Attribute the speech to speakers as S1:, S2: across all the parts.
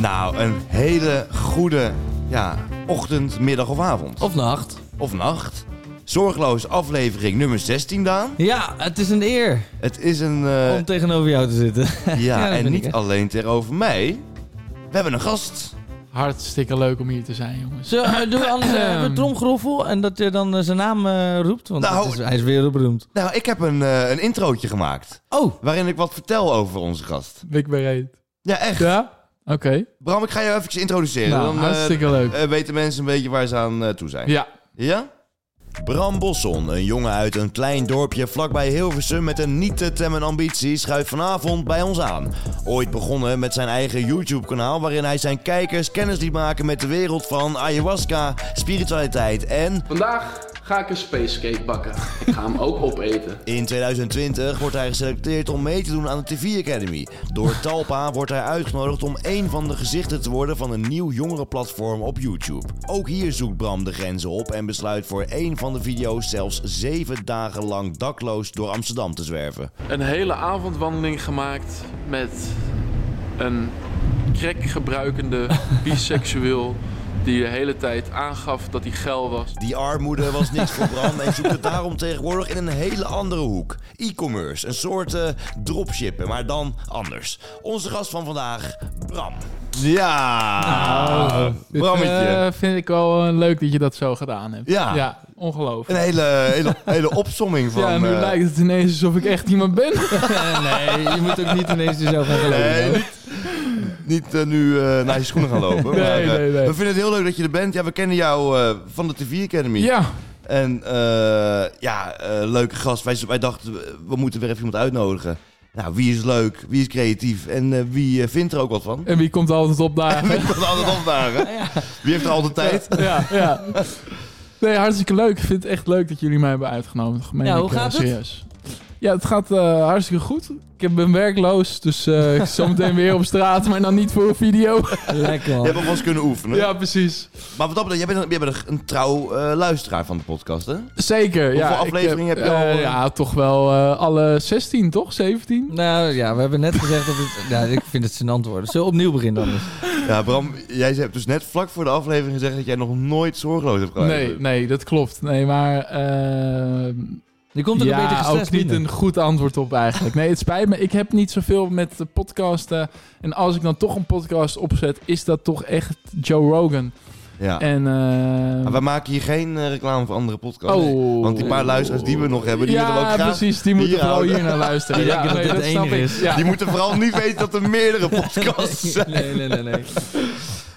S1: Nou, hele goede ja, ochtend, middag of avond.
S2: Of nacht.
S1: Of nacht. Zorgeloos aflevering nummer 16, Daan.
S2: Ja, het is een eer
S1: Het is een... eh,
S2: om tegenover jou te zitten.
S1: ja,
S2: dat
S1: en
S2: vind
S1: niet
S2: ik, hè.
S1: alleen tegenover mij. We hebben een gast.
S3: Hartstikke leuk om hier te zijn, jongens.
S2: Zo, eh, doe anders eh,
S3: Ehm.
S2: even tromgeroffel en dat je dan eh, zijn naam eh, roept. Want
S1: Nou,
S2: dat is, hij is wereldberoemd.
S1: Nou, ik heb een, eh, een introotje gemaakt.
S2: Oh,
S1: Waarin ik wat vertel over onze gast.
S3: Ben ik bereid.
S1: Ja, echt.
S3: Ja? Oké.
S1: Bram, ik ga je even introduceren.
S3: Nou,
S1: Dan eh,
S3: hartstikke leuk.
S1: eh, weten mensen een beetje waar ze aan eh, toe zijn.
S3: Ja.
S1: Ja? Bram Bosson, een jongen uit een klein dorpje vlakbij Hilversum met een niet te temmen ambitie, schuift vanavond bij ons aan. Ooit begonnen met zijn eigen YouTube-kanaal waarin hij zijn kijkers kennis liet maken met de wereld van ayahuasca, spiritualiteit en...
S4: Vandaag ga ik een spacecake bakken. Ik ga hem ook opeten.
S1: In 2020 wordt hij geselecteerd om mee te doen aan de TV Academy. Door Talpa wordt hij uitgenodigd om één van de gezichten te worden van een nieuw jongerenplatform op YouTube. Ook hier zoekt Bram de grenzen op en besluit voor één van de video's zelfs zeven dagen lang dakloos door Amsterdam te zwerven.
S4: Een hele avondwandeling gemaakt met een crack gebruikende biseksueel die de hele tijd aangaf dat hij geil was.
S1: Die armoede was niks voor Bram en zoekt het daarom tegenwoordig in een hele andere hoek. E-commerce, een soort eh, dropshippen, maar dan anders. Onze gast van vandaag, Bram. Ja!
S3: Dit,
S1: Brammetje.
S3: eh, vind ik wel eh, leuk dat je dat zo gedaan hebt.
S1: Ja.
S3: Ja,
S1: Een
S3: ongelooflijk.
S1: hele, hele, hele opsomming van...
S3: ja, nu
S1: eh,
S3: lijkt het ineens alsof ik echt iemand ben.
S2: nee, je moet ook niet ineens jezelf gaan geloven.
S1: Nee,
S2: hè.
S1: niet, niet eh, nu eh, naar je schoenen gaan lopen.
S3: Nee,
S1: maar, eh,
S3: nee, nee.
S1: We vinden het heel leuk dat je er bent. Ja, we kennen jou eh, van de TV Academy.
S3: ja.
S1: En eh, ja, eh, leuke gast. Wij, wij dachten, we- we moeten weer even iemand uitnodigen. Nou, wie is leuk? Wie is creatief? En eh, wie eh, vindt er ook wat van?
S3: En wie komt altijd op daar?
S1: Wie kan altijd opdagen? Wie heeft er altijd tijd?
S3: Ja, ja. Nee, hartstikke leuk. Ik vind het echt leuk dat jullie mij hebben uitgenodigd. Meen
S2: Ja,
S3: ik,
S2: Nou, hoe
S3: eh,
S2: gaat het?
S3: serieus. Ja, het gaat eh, hartstikke goed. Ik heb- ben werkloos, dus eh, ik zo meteen weer op straat, maar dan niet voor een video.
S2: Lekker
S1: Je
S2: man.
S1: hebt ook wel eens kunnen oefenen.
S3: Ja, precies.
S1: Maar wat dat betreft, jij bent, een- jij bent een- een trouw eh, luisteraar van de podcast, hè?
S3: Zeker, ja.
S1: Hoeveel
S3: ik
S1: afleveringen heb je
S3: eh,
S1: al, eh?
S3: ja, toch wel eh, alle 16, toch? 17?
S2: Nou ja, we hebben net gezegd dat het... Ja, ik vind het zijn antwoorden. Zullen we opnieuw beginnen anders?
S1: Ja, Bram, jij hebt dus net vlak voor de aflevering gezegd dat jij nog nooit zorgeloos hebt geluisterd.
S3: Nee, nee, dat klopt. Nee, maar... eh,
S2: Je komt ook
S3: ja,
S2: een beetje gestrest
S3: ook niet
S2: binnen.
S3: een goed antwoord op eigenlijk. Nee, het spijt me. Ik heb niet zoveel met de podcasten. En als ik dan toch een podcast opzet, is dat toch echt Joe Rogan.
S1: Ja.
S3: En... eh,
S1: Maar we maken hier geen eh, reclame voor andere podcasts.
S3: Oh.
S1: Want die paar luisteraars die we nog hebben, die willen we
S3: ja,
S1: ook graag...
S3: precies. Die moeten
S1: hier
S3: vooral
S1: houden.
S3: hier naar luisteren.
S2: Die
S3: ja,
S2: denken dat
S3: nee,
S2: dit de
S3: snap
S2: enige
S3: ik.
S2: is.
S3: Ja.
S1: Die moeten vooral niet weten dat er meerdere podcasts zijn.
S2: Nee, nee, nee, nee.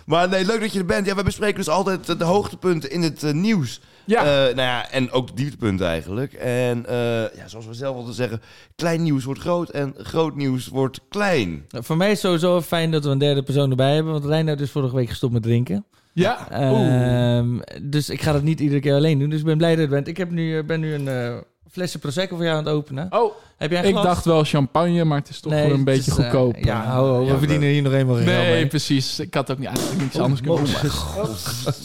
S1: Maar nee, leuk dat je er bent. Ja, we bespreken dus altijd eh, de hoogtepunten in het eh, nieuws.
S3: Ja.
S1: Eh, nou ja, en ook de dieptepunten eigenlijk. En eh, ja, zoals we zelf altijd zeggen, klein nieuws wordt groot en groot nieuws wordt klein.
S2: Nou, Voor mij is sowieso fijn dat we een derde persoon erbij hebben. Want Reinoud is dus vorige week gestopt met drinken.
S3: ja. Oeh.
S2: Ehm, dus ik ga dat niet iedere keer alleen doen. Dus ik ben blij dat je er bent. Ik heb nu, eh, ben nu een eh flesje Prosecco voor jou aan het openen.
S3: Oh,
S2: Heb jij een
S3: ik
S2: glas?
S3: dacht wel champagne, maar het is toch wel een
S2: het
S3: beetje
S2: is, eh,
S3: goedkoop.
S2: ja, oh. ho, ho,
S1: Ja,
S2: we verdienen hier nog eenmaal geen geld
S3: Nee,
S2: mee.
S3: precies. Ik had ook niet, eigenlijk niks anders kunnen
S2: Oh,
S3: doen.
S2: mijn god.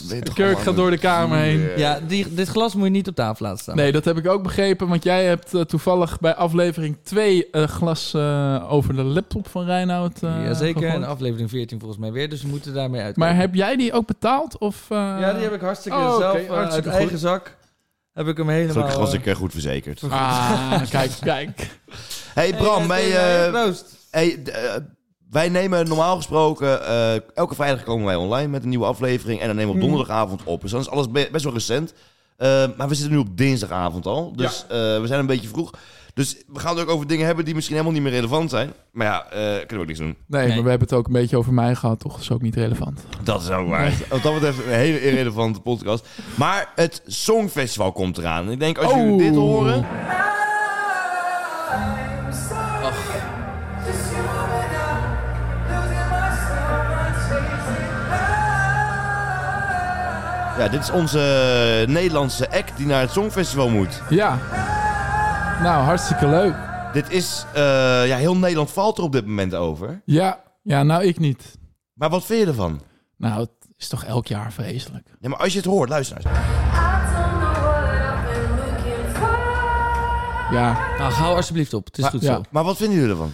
S1: De
S3: Kirk gaat door de kamer heen.
S2: Ja, die, dit glas moet je niet op tafel laten staan.
S3: Nee, dat heb ik ook begrepen, want jij hebt eh, toevallig bij aflevering 2 een glas eh, over de laptop van Reinoud. eh,
S2: Jazeker,
S3: gegooid.
S2: en aflevering 14 volgens mij weer. Dus we moeten daarmee uit.
S3: Maar heb jij die ook betaald? Of, eh,
S2: Ja, die heb ik hartstikke
S3: Oh, oké,
S2: zelf eh,
S3: hartstikke
S2: uit
S3: goed.
S2: eigen zak. Heb ik hem helemaal...
S1: Gelukkig was
S2: eh,
S1: ik eh, goed verzekerd.
S3: Ah, kijk, kijk.
S1: Hey Bram,
S2: eh,
S1: wij,
S2: eh,
S1: eh,
S2: proost.
S1: Hey, d- eh, wij nemen normaal gesproken, eh, elke vrijdag komen wij online met een nieuwe aflevering. En dan nemen we op donderdagavond op. Dus dan is alles be- best wel recent. Eh, maar we zitten nu op dinsdagavond al. Dus eh, we zijn een beetje vroeg. Dus we gaan het ook over dingen hebben die misschien helemaal niet meer relevant zijn. Maar ja, eh, kunnen we ook niks doen.
S3: Nee,
S2: Nee.
S3: maar we hebben het ook een beetje over mij gehad, toch? Dat is ook niet relevant.
S1: Dat is ook waar. Wat dat betreft een hele irrelevante podcast. Maar het Songfestival komt eraan. Ik denk, als jullie
S3: Oh.
S1: dit horen...
S5: I'm sorry, just you and I, losing my summer, chasing love.
S1: Ja, dit is onze Nederlandse act die naar het Songfestival moet.
S3: Ja. Nou, hartstikke leuk.
S1: Dit is... eh, ja, heel Nederland valt er op dit moment over.
S3: Ja, ja nou ik niet.
S1: Maar wat vind je ervan?
S3: Nou, het is toch elk jaar vreselijk.
S1: Ja, maar als je het hoort, luister nou eens.
S5: I don't know what I've been looking for.
S3: Ja,
S2: Nou, hou alsjeblieft op. Het is goed
S3: ja.
S2: zo.
S1: Maar wat vinden jullie ervan?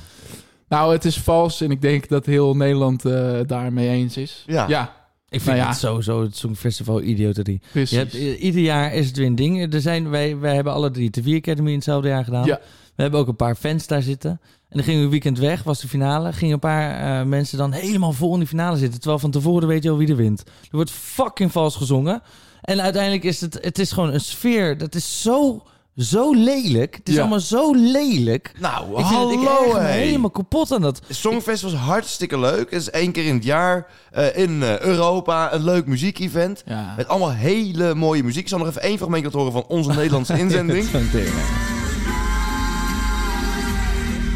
S3: Nou, het is vals en ik denk dat heel Nederland eh daarmee eens is.
S1: Ja.
S3: ja
S2: Ik vind
S3: Nou ja.
S2: het sowieso het Songfestival idioterie.
S3: precies.
S2: Je hebt, i- ieder jaar is het weer een ding. Eh, Er zijn, wij, wij hebben alle drie de 4 Academy in hetzelfde jaar gedaan.
S3: Ja.
S2: We hebben ook een paar fans daar zitten. En dan gingen we een weekend weg, was de finale. Gingen een paar eh, mensen dan helemaal vol in die finale zitten. Terwijl van tevoren weet je al wie er wint. Er wordt fucking vals gezongen. En uiteindelijk is het, het is gewoon een sfeer. Dat is zo, zo lelijk. Het is
S3: Ja.
S2: allemaal zo lelijk.
S1: Nou,
S2: Ik, vind het- ik
S1: hallo
S2: erger me
S1: hé.
S2: helemaal kapot aan dat.
S1: Songfest was hartstikke leuk. Het is één keer in het jaar eh, in eh, Europa een leuk muziekevent.
S3: ja.
S1: Met allemaal hele mooie muziek. Ik zal nog even één fragment laten horen van onze Nederlandse inzending.
S3: Zo'n ding, hè.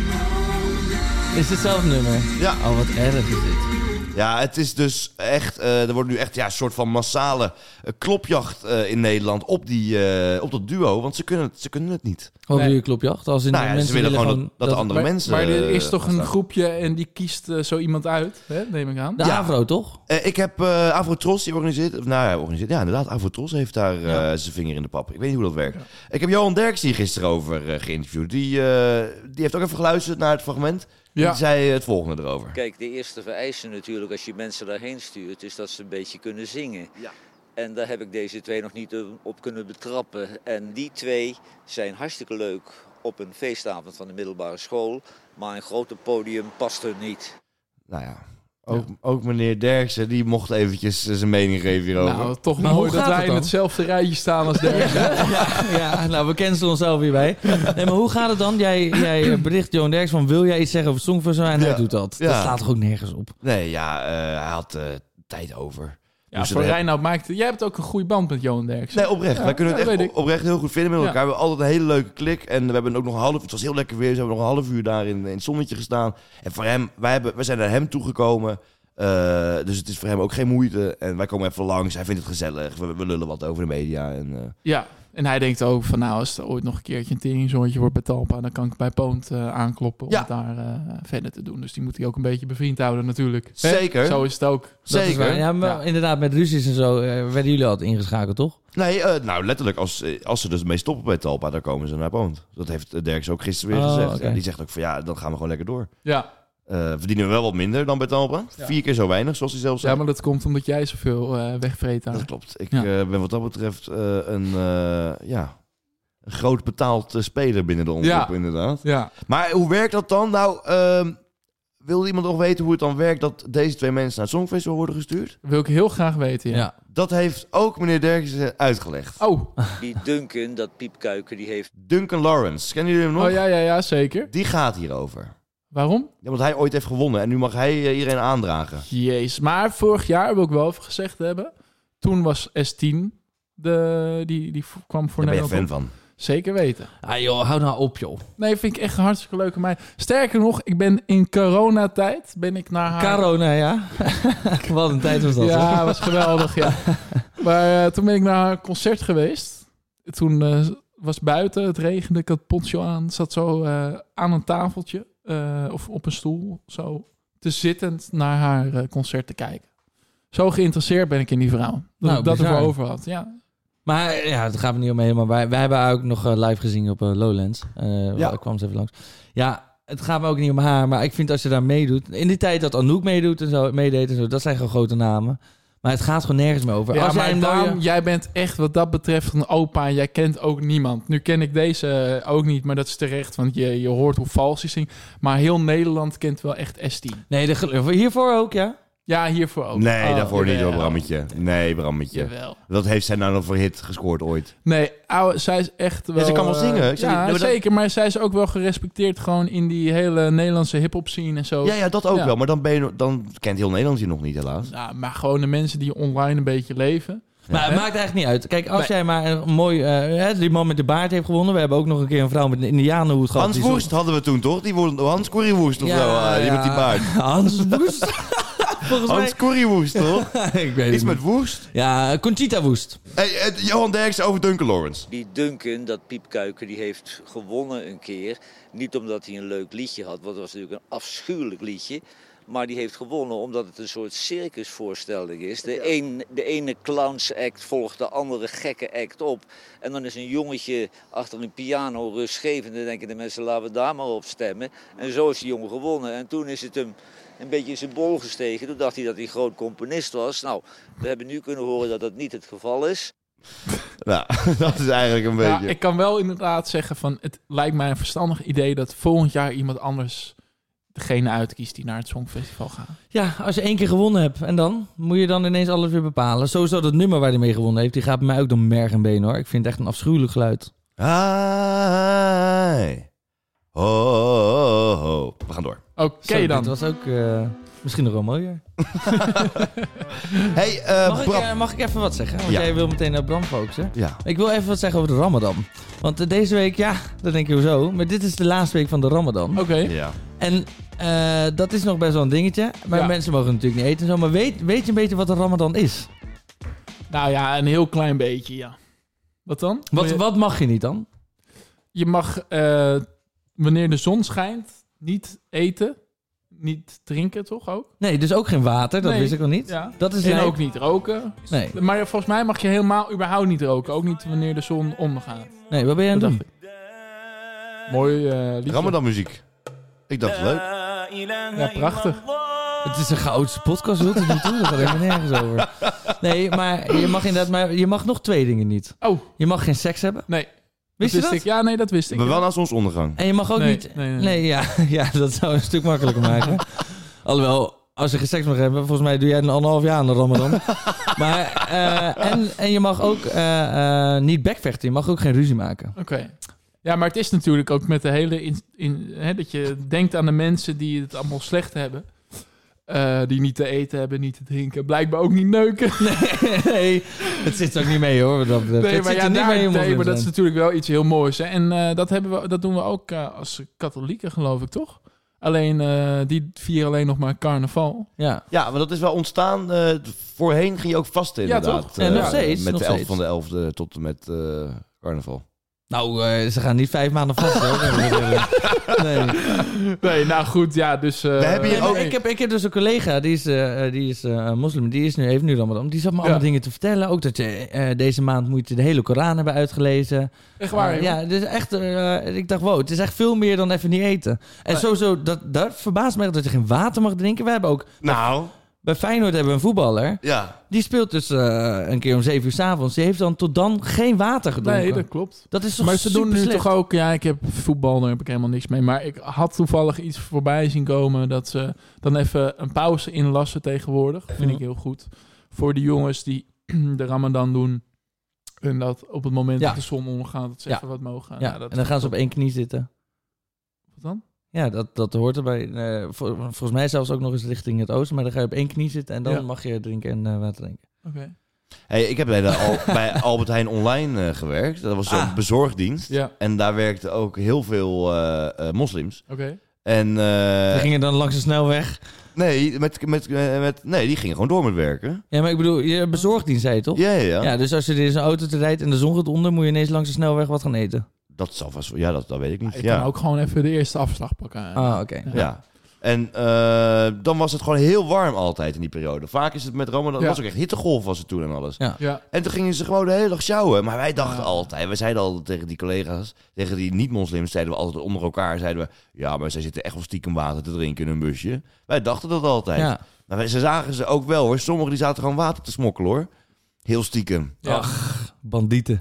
S2: Het is hetzelfde nummer.
S1: Ja.
S2: Oh, wat erg is dit.
S1: Ja, het is dus echt. eh, er wordt nu echt ja, een soort van massale eh, klopjacht eh, in Nederland op, die, eh, op dat duo. Want ze kunnen het, ze kunnen het niet.
S2: Wat
S3: Nee.
S2: doe je klopjacht? Als in
S1: nou,
S2: de
S1: ja, ze
S2: mensen
S1: willen gewoon dat, dat de
S2: dat-
S1: andere
S3: maar,
S1: mensen.
S3: Maar er
S1: eh,
S3: is toch
S1: gaan
S3: een
S1: staan.
S3: groepje en die kiest eh, zo iemand uit, hè? neem ik aan.
S2: De
S1: Ja.
S2: Avro, toch?
S1: Eh, ik heb eh Avrotros, die organiseert. of, Nou ja, organiseert. Ja, inderdaad. Avrotros heeft daar eh, zijn vinger in de pap. Ik weet niet hoe dat werkt. Ik heb Johan Derks hier gisteren over eh, geïnterviewd. Die, eh, die heeft ook even geluisterd naar het fragment.
S3: Ja.
S1: Die zei eh, het volgende erover.
S6: Kijk, de eerste vereiste natuurlijk als je mensen daarheen stuurt, is dat ze een beetje kunnen zingen.
S1: Ja.
S6: En daar heb ik deze twee nog niet eh, op kunnen betrappen. En die twee zijn hartstikke leuk op een feestavond van de middelbare school. Maar een groter podium past hun niet.
S1: Nou ja. Ook, ook meneer Derksen, die mocht eventjes eh, zijn mening geven hierover.
S3: Nou, toch
S2: Maar
S3: mooi
S2: hoe
S3: dat
S2: gaat
S3: wij
S2: het
S3: in
S2: dan?
S3: hetzelfde rijtje staan als Dirk.
S2: Ja, nou, we cancelen onszelf hierbij. Nee, maar hoe gaat het dan? Jij, jij bericht Johan Derks van... wil jij iets zeggen over Songfestival? En
S1: Ja.
S2: hij doet dat.
S1: Ja.
S2: Dat staat toch ook nergens op?
S1: Nee, ja, eh, hij had eh, tijd over.
S3: Ja,
S1: Dus
S3: voor
S1: dat-
S3: Reinoud maakt... Jij hebt ook een goede band met Johan Derksen.
S1: Nee, oh. oprecht. wij kunnen het
S3: ja,
S1: echt
S3: weet ik.
S1: op- oprecht heel goed vinden met
S3: Ja.
S1: elkaar. We hebben altijd een hele leuke klik. En we hebben ook nog een half... Het was heel lekker weer. Dus we hebben nog een half uur daar in, in het zonnetje gestaan. En voor hem... Wij, hebben, wij zijn naar hem toegekomen. Eh, dus het is voor hem ook geen moeite. En wij komen even langs. Hij vindt het gezellig. We, we lullen wat over de media. En, eh,
S3: Ja, en hij denkt ook van nou, als er ooit nog een keertje een teringzoontje wordt bij Talpa, dan kan ik bij Poont eh, aankloppen om
S1: Ja.
S3: het daar eh, verder te doen. Dus die moet hij ook een beetje bevriend houden natuurlijk. Hè?
S1: Zeker.
S3: Zo is het ook.
S2: Dat is
S1: zeker.
S2: waar. ja, maar
S3: Ja.
S2: inderdaad, met ruzies en zo eh, werden jullie altijd ingeschakeld, toch?
S1: Nee, eh, nou letterlijk. Als, eh, als ze dus mee stoppen bij Talpa, dan komen ze naar Poont. Dat heeft eh, Derks ook gisteren weer
S2: Oh,
S1: gezegd.
S2: oké.
S1: En die zegt ook van ja, dan gaan we gewoon lekker door.
S3: Ja.
S1: Eh, verdienen we wel wat minder dan bij Talpa.
S3: Ja.
S1: Vier keer zo weinig, zoals hij zelf zei.
S3: ja, maar dat komt omdat jij zoveel eh wegvreet
S1: Dat
S3: aan.
S1: klopt. Ik
S3: Ja.
S1: eh, ben wat dat betreft eh, een, eh, ja, een groot betaald eh, speler binnen de omroep,
S3: Ja.
S1: inderdaad.
S3: Ja,
S1: Maar hoe werkt dat dan? Nou, ehm, wil iemand nog weten hoe het dan werkt dat deze twee mensen naar het Songfestival worden gestuurd?
S3: wil ik heel graag weten. Ja.
S1: Dat heeft ook meneer Derksen uitgelegd.
S3: Oh,
S6: Die Duncan, dat piepkuiken, die heeft
S1: Duncan Lawrence, kennen jullie hem nog?
S3: oh ja, ja, ja, zeker.
S1: Die gaat hierover.
S3: Waarom?
S1: Ja, want hij ooit heeft gewonnen en nu mag hij eh, iedereen aandragen.
S3: Jeez, maar vorig jaar wil ik wel even gezegd hebben. Toen was S10 de, die, die v- kwam voor
S1: Daar ben je
S3: Nederland.
S1: fan
S3: op.
S1: van.
S3: Zeker weten.
S2: Ah joh, hou nou op joh.
S3: Nee, vind ik echt een hartstikke leuke meid. Sterker nog, ik ben in coronatijd ben ik naar haar...
S2: Corona, nou ja. wat een tijd was dat. hoor.
S3: Ja, was geweldig, ja. Maar eh, toen ben ik naar haar concert geweest. Toen eh, was buiten, het regende, ik had poncho aan. Zat zo eh, aan een tafeltje eh, of op een stoel, zo te zittend naar haar eh, concert te kijken. Zo geïnteresseerd ben ik in die vrouw. Dat
S2: Nou,
S3: ik dat
S2: bizar.
S3: ervoor over had, ja.
S2: Maar ja, het gaat me niet om helemaal. Wij, wij hebben haar ook nog eh, live gezien op eh, Lowlands. Eh
S1: Ja.
S2: ja. kwam ze even langs. Ja, het gaat me ook niet om haar. Maar ik vind als je daar meedoet... In die tijd dat Anouk meedoet en zo, meedeed en zo... Dat zijn gewoon grote namen. Maar het gaat gewoon nergens meer over.
S3: Ja,
S2: als jij
S3: maar
S2: een
S3: Daan,
S2: mooie...
S3: jij bent echt wat dat betreft een opa. en Jij kent ook niemand. Nu ken ik deze eh, ook niet, maar dat is terecht. Want je, je hoort hoe vals hij zingt. Maar heel Nederland kent wel echt S10.
S2: Nee, de gel- hiervoor ook, ja.
S3: Ja, hiervoor ook.
S1: Nee,
S3: Oh,
S1: daarvoor niet
S3: jawel.
S1: hoor, Brammetje. Nee, Brammetje.
S3: Jawel.
S1: Wat heeft zij nou nog voor hit gescoord ooit?
S3: Nee, ouwe, zij is echt wel...
S1: ze kan wel
S3: eh,
S1: zingen. Ik zeg niet-
S3: ja,
S1: nee, maar dat-
S3: zeker. Maar zij is ook wel gerespecteerd gewoon in die hele Nederlandse hip-hop scene en zo.
S1: Ja, ja, dat ook
S3: Ja.
S1: wel. Maar dan, ben je, dan kent heel Nederland je nog niet, helaas.
S3: Nou, maar gewoon de mensen die online een beetje leven.
S2: Maar het
S3: Hè?
S2: maakt eigenlijk niet uit. Kijk, als
S3: Nee.
S2: jij maar een mooi... eh, hè, die man met de baard heeft gewonnen. We hebben ook nog een keer een vrouw met een indianenhoed gehad.
S1: Hans
S2: die zo-
S1: Woest hadden we toen toch? Die woord, Hans Corrie Woest of zo. eh, die met die baard.
S2: Hans Woest? Volgens
S1: Hans Corrie Woest toch?
S2: mij... ik weet het
S1: Iets
S2: niet.
S1: met Woest.
S2: Ja, Conchita Woest.
S1: Hey, eh, Johan Derksen over Duncan Lawrence.
S6: Die Duncan, dat piepkuiken, die heeft gewonnen een keer. Niet omdat hij een leuk liedje had, want het was natuurlijk een afschuwelijk liedje. Maar die heeft gewonnen omdat het een soort circusvoorstelling is. De, een, de ene clowns-act volgt de andere gekke act op. En dan is een jongetje achter een piano rustgevend. Dan denken de mensen, laten we daar maar op stemmen. En zo is die jongen gewonnen. En toen is het hem een beetje in zijn bol gestegen. Toen dacht hij dat hij een groot componist was. Nou, we hebben nu kunnen horen dat dat niet het geval is.
S1: Nou, dat is eigenlijk een
S3: Ja,
S1: beetje...
S3: ik kan wel inderdaad zeggen van het lijkt mij een verstandig idee dat volgend jaar iemand anders degene uitkiest die naar het Songfestival gaat.
S2: Ja, als je één keer gewonnen hebt en dan moet je dan ineens alles weer bepalen. Sowieso dat nummer waar hij mee gewonnen heeft, die gaat bij mij ook door merg en been hoor. Ik vind het echt een afschuwelijk geluid.
S1: Hi. Ho, ho, ho. We gaan door.
S3: Oké
S2: Zo,
S3: dan.
S2: Dit was ook eh, misschien nog wel mooier.
S1: Hey, eh,
S2: Mag ik,
S1: Bram.
S2: eh, mag ik even wat zeggen? Want
S1: Ja.
S2: jij wil meteen naar Bram focussen.
S1: Ja.
S2: Ik wil even wat zeggen over de Ramadan. Want eh, deze week, ja, dat denk je hoezo. Maar dit is de laatste week van de Ramadan.
S3: Oké.
S1: ja.
S2: En eh, dat is nog best wel een dingetje. Maar
S3: Ja.
S2: mensen mogen natuurlijk niet eten en zo. Maar weet, weet je een beetje wat de Ramadan is?
S3: Nou ja, een heel klein beetje, ja. Wat dan?
S2: Wat,
S3: je,
S2: wat mag je niet dan?
S3: je mag eh, wanneer de zon schijnt niet eten, niet drinken toch ook?
S2: Nee, dus ook geen water. Dat
S3: Nee.
S2: wist ik al niet.
S3: Ja.
S2: Dat is
S3: en
S2: lijp.
S3: ook niet roken.
S2: Nee.
S3: Maar volgens mij mag je helemaal überhaupt niet roken. Ook niet wanneer de zon ondergaat.
S2: nee, wat ben je aan
S3: Dat
S2: het
S3: dacht
S2: doen?
S3: ik. Mooi eh liedje.
S1: Ramadan muziek. Ik dacht leuk.
S3: Ja, prachtig.
S2: Het is een chaotische podcast, wilt het niet toe? Dat gaat helemaal nergens over. Nee, maar je mag inderdaad, maar je mag nog twee dingen niet.
S3: Oh,
S2: Je mag geen seks hebben.
S3: nee.
S2: Wist je
S3: wist
S2: dat?
S3: Ik. Ja, nee, dat wist ik.
S1: Maar wel na zonsondergang.
S2: En je mag ook
S3: Nee,
S2: niet.
S3: nee,
S2: Nee,
S3: nee.
S2: ja, ja, dat zou een stuk makkelijker maken. Alhoewel, als je geen seks mag hebben, volgens mij doe jij een anderhalf jaar aan de Ramadan. maar, eh, en, en je mag ook eh, eh, niet bekvechten. Je mag ook geen ruzie maken.
S3: Oké. Ja, maar het is natuurlijk ook met de hele... In, in, hè, dat je denkt aan de mensen die het allemaal slecht hebben. Eh, die niet te eten hebben, niet te drinken. Blijkbaar ook niet neuken.
S2: nee, het zit er ook niet mee hoor. Wat dat betreft.
S3: Nee,
S2: Het
S3: maar,
S2: zit
S3: ja,
S2: er niet
S3: daar-
S2: mee om
S3: nee,
S2: moslim
S3: maar dat
S2: te
S3: is
S2: zijn.
S3: natuurlijk wel iets heel moois. Hè? En eh, dat, hebben we, dat doen we ook eh, als katholieken, geloof ik, toch? Alleen, eh, die vieren alleen nog maar carnaval.
S2: Ja.
S1: Ja, maar dat is wel ontstaan. eh, voorheen ging je ook vast inderdaad.
S3: toch?
S1: eh,
S2: En nog steeds,
S1: Met
S2: nog
S1: de 11
S2: steeds.
S1: van de 11e tot en met eh, carnaval.
S2: Nou, eh, ze gaan niet vijf maanden vast hoor. nee.
S3: Nee, nou goed, ja, dus... eh,
S1: hebben hier
S2: Ja, maar
S1: ook-
S3: nee.
S2: ik, heb, ik heb dus een collega, die is, eh, eh, die is eh, moslim, die is nu, heeft nu Ramadan. Die zat me allemaal
S3: Ja.
S2: dingen te vertellen. Ook dat je eh, deze maand moet je de hele Koran hebben uitgelezen.
S3: Echt waar,
S2: Eh,
S3: ja.
S2: ja, dus echt, eh, ik dacht, wow, het is echt veel meer dan even niet eten. En
S3: Nee.
S2: sowieso, dat, dat verbaast me echt dat je geen water mag drinken. We hebben ook,
S1: Nou,
S2: bij Feyenoord hebben we een voetballer.
S1: ja.
S2: Die speelt dus eh, een keer om zeven uur s'avonds. Die heeft dan tot dan geen water gedronken.
S3: Nee, dat
S2: dat...
S3: klopt.
S2: is toch
S3: maar ze doen nu
S2: superslecht?
S3: toch ook, ja, ik heb voetbal, daar heb ik helemaal niks mee. Maar ik had toevallig iets voorbij zien komen dat ze dan even een pauze inlassen tegenwoordig. Vind ik
S2: Mhm.
S3: heel goed. Voor de jongens die de Ramadan doen. En dat op het moment
S2: Ja.
S3: dat de zon ondergaat, dat ze
S2: Ja.
S3: even wat mogen. gaan.
S2: Ja,
S3: Nou dat
S2: en dan gaan ze op één knie zitten.
S3: Wat dan?
S2: Ja, dat, dat hoort erbij. Eh, vol- volgens mij zelfs ook nog eens richting het oosten. Maar dan ga je op één knie zitten en dan
S3: Ja.
S2: mag je drinken en eh, water drinken.
S3: Oké.
S1: Hey, ik heb bij, de Al- bij Albert Heijn online eh, gewerkt. Dat was zo'n
S2: Ah.
S1: bezorgdienst.
S3: Ja,
S1: En daar werkten ook heel veel eh, eh, moslims.
S3: oké.
S1: En eh,
S2: We gingen dan langs de snelweg.
S1: nee, met, met, eh, met, nee, die gingen gewoon door met werken.
S2: Ja, maar ik bedoel, je bezorgdienst zei je toch?
S1: Ja, ja, ja.
S2: Ja, dus als je in een auto te rijdt en de zon gaat onder, moet je ineens langs de snelweg wat gaan eten.
S1: Dat zal vast. Ja, dat, dat weet ik niet.
S3: Ik
S1: ja.
S3: kan ook gewoon even de eerste afslag pakken.
S2: Ah, oké.
S1: Ja. En eh, dan was het gewoon heel warm altijd in die periode. Vaak is het met Rome, dat
S3: Ja.
S1: was ook echt hittegolf was het toen en alles.
S2: Ja.
S3: Ja.
S1: En toen gingen ze gewoon de hele dag sjouwen. Maar wij dachten
S3: Ja.
S1: altijd, we zeiden altijd tegen die collega's, tegen die niet-moslims, zeiden we altijd onder elkaar, zeiden we, ja, maar zij zitten echt wel stiekem water te drinken in hun busje. Wij dachten dat altijd.
S2: Ja.
S1: Maar wij- ze zagen ze ook wel hoor. Sommigen die zaten gewoon water te smokkelen hoor. Heel stiekem.
S3: Ja.
S2: Ach, bandieten.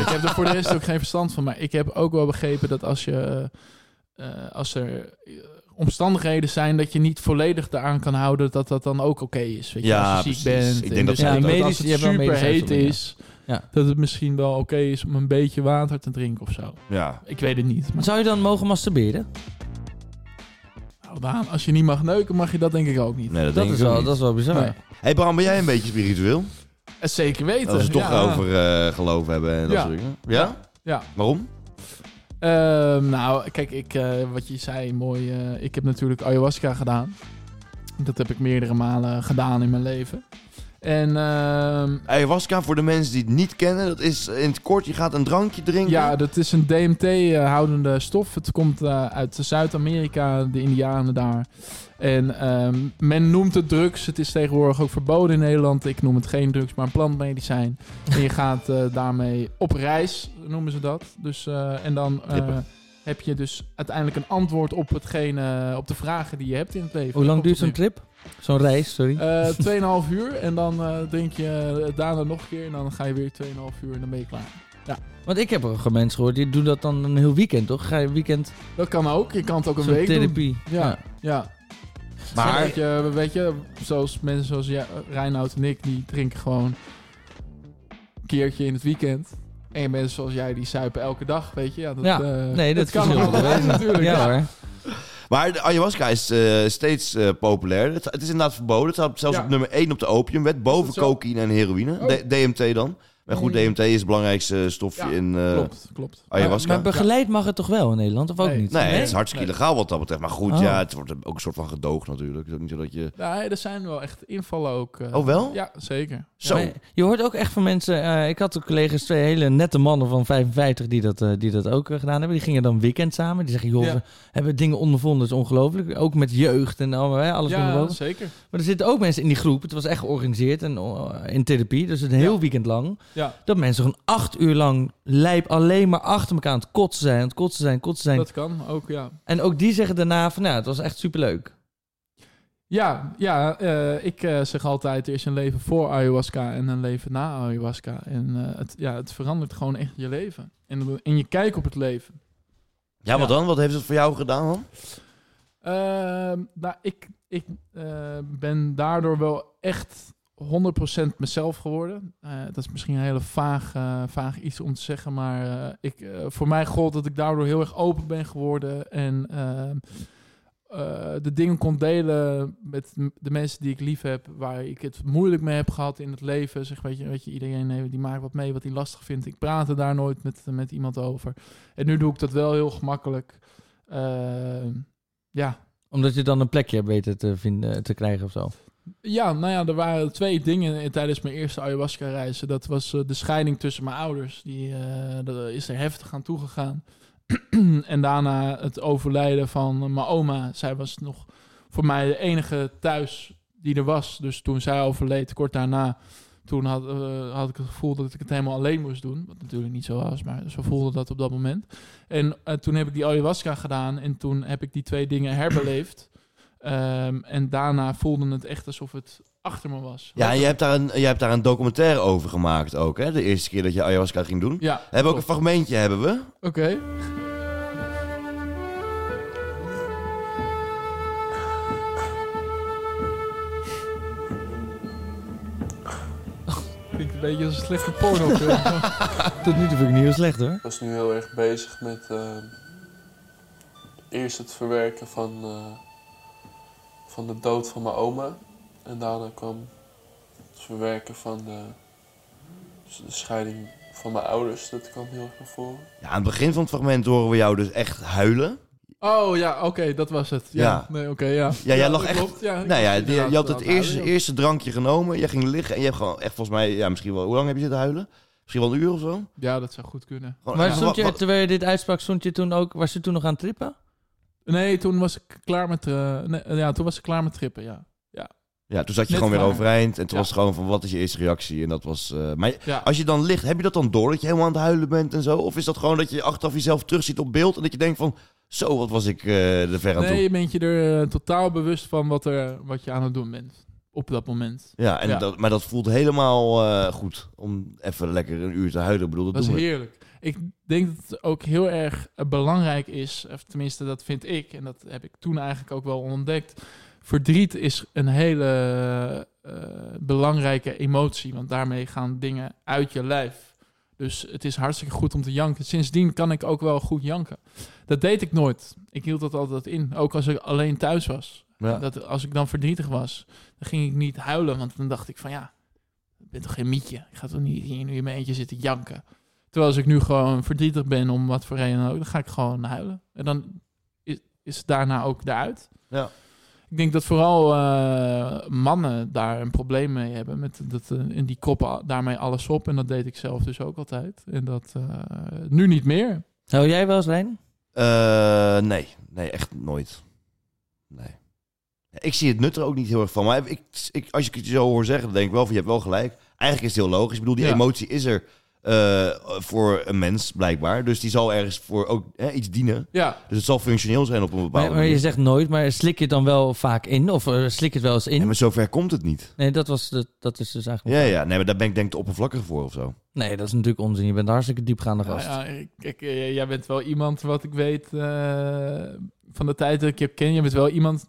S3: ik heb er voor de rest ook geen verstand van. Maar ik heb ook wel begrepen dat als, je, eh, als er eh, omstandigheden zijn dat je niet volledig daaraan kan houden, dat dat dan ook oké is. Weet je,
S1: Ja,
S3: als je ziek
S1: precies.
S3: bent.
S1: Ik denk
S3: en
S1: dat
S3: dus
S1: ze dat ook-
S2: Ja,
S3: als
S2: medisch- je
S3: het
S2: hebt wel
S3: super
S2: medische
S3: heet
S2: uitzonderingen.
S3: is,
S2: Ja.
S3: dat het misschien wel oké is om een beetje water te drinken of zo.
S1: Ja.
S3: Ik weet het niet. Maar
S2: Zou je dan mogen masturberen?
S3: nou, Daan, als je niet mag neuken, mag je dat denk ik ook niet.
S1: Nee, dat,
S2: Dat
S1: denk
S2: is,
S1: ik ook
S2: wel,
S1: niet.
S2: dat is wel bizar.
S3: Nee.
S1: Hey Bram, ben jij een beetje spiritueel?
S3: Eh, Zeker weten.
S1: Dat we het toch
S3: ja.
S1: over eh, geloof hebben en dat
S3: Ja.
S1: soort dingen. Ja?
S3: Ja.
S1: Waarom?
S3: Ehm, nou, kijk, ik, eh, wat je zei, mooi. eh, ik heb natuurlijk ayahuasca gedaan. Dat heb ik meerdere malen gedaan in mijn leven. En ehm,
S1: Ayahuasca, voor de mensen die het niet kennen, dat is in het kort, je gaat een drankje drinken.
S3: ja, dat is een DMT-houdende eh, stof. Het komt eh, uit Zuid-Amerika, de Indianen daar. En ehm, men noemt het drugs. Het is tegenwoordig ook verboden in Nederland. Ik noem het geen drugs, maar een plantmedicijn. en je gaat eh, daarmee op reis, noemen ze dat. Dus, eh, en dan eh,
S1: Kippen.
S3: heb je dus uiteindelijk een antwoord op, hetgene, eh, op de vragen die je hebt in het leven.
S2: Hoe lang
S3: Op
S2: duurt
S3: het
S2: zo'n trip? Zo'n reis, sorry.
S3: Eh, 2,5 uur en dan eh, drink je eh, daarna nog een keer en dan ga je weer 2,5 uur en dan ben je klaar.
S2: Want ik heb ook mensen gehoord, die doen dat dan een heel weekend, toch? Ga je een weekend
S3: Dat kan ook, je kan het ook een
S2: zo'n
S3: week doen.
S2: therapie.
S3: Ja, ja. Maar
S1: maar
S3: weet je, weet je, zoals mensen zoals ja, Reinoud en ik, die drinken gewoon een keertje in het weekend. En mensen zoals jij, die suipen elke dag, weet je. Ja, dat,
S2: Ja,
S3: eh,
S2: Nee, dat,
S3: kan
S2: verschilt wel.
S3: allebei natuurlijk.
S2: Ja,
S3: ja.
S2: hoor.
S1: Maar de ayahuasca is eh, steeds eh, populair. Het, het is inderdaad verboden. Het staat zelfs
S3: Ja.
S1: op nummer 1 op de opiumwet. Boven
S3: dat zo?
S1: cocaïne en heroïne.
S3: Oh.
S1: D- DMT dan. Maar goed,
S3: Mm.
S1: DMT is het belangrijkste stofje
S3: Ja,
S1: in eh,
S3: Klopt, klopt.
S1: ayahuasca.
S2: Maar begeleid mag het toch wel in Nederland, of ook
S3: Nee.
S2: niet?
S1: nee, het is hartstikke
S3: Nee.
S1: illegaal wat dat betreft. Maar goed,
S2: Oh.
S1: ja, het wordt ook een soort van gedoogd natuurlijk. Het is ook niet zo dat je...
S3: Nee, er zijn wel echt invallen ook. eh.
S1: Oh, wel?
S3: Ja, zeker.
S1: Zo.
S2: Maar je hoort ook echt van mensen. eh, ik had ook collega's, twee hele nette mannen van 55 die dat, eh, die dat ook eh, gedaan hebben. Die gingen dan weekend samen. Die zeggen, joh,
S3: Ja.
S2: we hebben dingen ondervonden. Dat is ongelooflijk. Ook met jeugd en allemaal, hè, alles
S3: ja,
S2: onderboven.
S3: zeker.
S2: Maar er zitten ook mensen in die groep. Het was echt georganiseerd en oh, in therapie. Dus een heel weekend lang.
S3: Ja.
S2: Dat mensen gewoon acht uur lang lijp alleen maar achter elkaar aan het kotsen zijn. Aan het kotsen zijn, kotsen zijn.
S3: Dat kan ook, ja.
S2: En ook die zeggen daarna van, nou, het was echt superleuk.
S3: Ja, ja eh, ik eh, zeg altijd, er is een leven voor ayahuasca en een leven na ayahuasca. En eh, het, ja, het verandert gewoon echt je leven. En, en je kijk op het leven.
S1: Ja, wat
S3: Ja.
S1: dan? Wat heeft het voor jou gedaan dan?
S3: Ehm, nou, ik ik eh, ben daardoor wel echt 100% mezelf geworden. Eh, dat is misschien een hele vaag, eh, vaag iets om te zeggen, maar eh, ik, eh, voor mij gold dat ik daardoor heel erg open ben geworden en ehm, eh, de dingen kon delen met m- de mensen die ik lief heb, waar ik het moeilijk mee heb gehad in het leven. Zeg, weet je, weet je, iedereen eh, die maakt wat mee wat hij lastig vindt. Ik praatte daar nooit met, met iemand over. En nu doe ik dat wel heel gemakkelijk. Ehm, ja,
S2: Omdat je dan een plekje hebt weten te, vinden, te krijgen of zo.
S3: ja, nou ja, er waren twee dingen in- tijdens mijn eerste ayahuasca-reizen. Dat was eh, de scheiding tussen mijn ouders. Die eh, dat is er heftig aan toegegaan. en daarna het overlijden van eh, mijn oma. Zij was nog voor mij de enige thuis die er was. Dus toen zij overleed, kort daarna, toen had, eh, had ik het gevoel dat ik het helemaal alleen moest doen. Wat natuurlijk niet zo was, maar zo voelde dat op dat moment. En eh, toen heb ik die ayahuasca gedaan en toen heb ik die twee dingen herbeleefd. Ehm, en daarna voelde het echt alsof het achter me was.
S1: Ja, en je hebt, daar een, je hebt daar een documentaire over gemaakt ook, hè? De eerste keer dat je ayahuasca ging doen.
S3: Ja,
S1: We hebben ook een
S3: klopt.
S1: fragmentje, hebben we.
S3: Oké. Klinkt een beetje als een slechte porno.
S2: Tot nu toe vind ik het niet heel slecht hoor.
S4: Ik was nu heel erg bezig met eh, eerst het verwerken van, eh, van de dood van mijn oma. En daarna kwam het verwerken van de, dus de scheiding van mijn ouders. Dat kwam heel erg naar voren.
S1: Ja, aan het begin van het fragment horen we jou dus echt huilen.
S3: oh ja, oké, dat was het. Ja.
S1: Ja.
S3: Nee, oké, ja.
S1: Ja, jij lag
S3: dat
S1: echt-
S3: klopt, ja, Oh, ik
S1: Nou ja,
S3: was
S1: je, je had
S3: inderdaad
S1: het
S3: aan huilen,
S1: eerste,
S3: ja.
S1: eerste drankje genomen. Jij ging liggen en je hebt gewoon echt volgens mij... Ja, misschien wel... Hoe lang heb je zitten huilen? Misschien wel een uur of zo?
S3: Ja, dat zou goed kunnen.
S1: Gewoon-
S2: Maar
S1: ja,
S2: stond
S1: wa-
S2: je,
S1: wa-
S2: terwijl je dit uitsprak, stond je toen ook, was je toen nog aan het trippen?
S3: Nee, toen was ik klaar met... eh, nee, ja, toen was ik klaar met trippen, ja.
S1: ja, toen zat je
S3: Net
S1: gewoon weer
S3: waar.
S1: overeind. En toen
S3: Ja.
S1: was het gewoon van, wat is je eerste reactie? En dat was... eh, maar
S3: Ja.
S1: als je dan ligt, heb je dat dan door dat je helemaal aan het huilen bent en zo? Of is dat gewoon dat je achteraf jezelf terugziet op beeld... en dat je denkt van, zo, wat was ik eh er ver aan
S3: Nee,
S1: toe?
S3: je bent je er eh, totaal bewust van wat, er, wat je aan het doen bent. Op dat moment.
S1: Ja, en
S3: Ja.
S1: Dat, maar dat voelt helemaal eh, goed. Om even lekker een uur te huilen. Ik bedoel, dat,
S3: Dat is
S1: doen we.
S3: heerlijk. Ik denk dat het ook heel erg eh, belangrijk is, of tenminste dat vind ik, en dat heb ik toen eigenlijk ook wel ontdekt. Verdriet is een hele eh, belangrijke emotie, want daarmee gaan dingen uit je lijf. Dus het is hartstikke goed om te janken. Sindsdien kan ik ook wel goed janken. Dat deed ik nooit. Ik hield dat altijd in, ook als ik alleen thuis was.
S1: Ja.
S3: Dat als ik dan verdrietig was, dan ging ik niet huilen, want dan dacht ik van ja, ik ben toch geen mietje. Ik ga toch niet hier nu in mijn eentje zitten janken. Terwijl als ik nu gewoon verdrietig ben om wat voor reden dan ook, dan ga ik gewoon huilen. En dan is, is het daarna ook eruit.
S1: Ja.
S3: Ik Ik denk dat vooral eh, mannen daar een probleem mee hebben. Met dat, eh, en die koppen a- daarmee alles op. En dat deed ik zelf dus ook altijd. En dat eh, nu niet meer.
S2: Zou jij wel eens Rijn?
S1: Eh, nee, nee, echt nooit. Nee. Ik zie het nut er ook niet heel erg van. Maar ik, ik, als ik het je zo hoor zeggen, dan denk ik wel van je hebt wel gelijk. Eigenlijk is het heel logisch. Ik bedoel, die
S3: Ja.
S1: emotie is er eh, voor een mens blijkbaar. Dus die zal ergens voor ook hè, iets dienen.
S3: Ja,
S1: Dus het zal functioneel zijn op een bepaalde
S2: Maar, maar je
S1: manier.
S2: zegt nooit, maar slik je het dan wel vaak in? Of eh, slik je het wel eens
S1: Nee,
S2: in?
S1: maar zover komt het niet.
S2: Nee, dat, was de, dat is dus eigenlijk...
S1: Ja, ja. Nee, maar daar ben ik denk ik te oppervlakkig voor of zo.
S2: Nee, dat is natuurlijk onzin. Je bent een hartstikke diepgaande gast.
S3: Ja, ja, ik- ik- eh, jij bent wel iemand, wat ik weet eh, van de tijd dat ik je ken, je bent wel iemand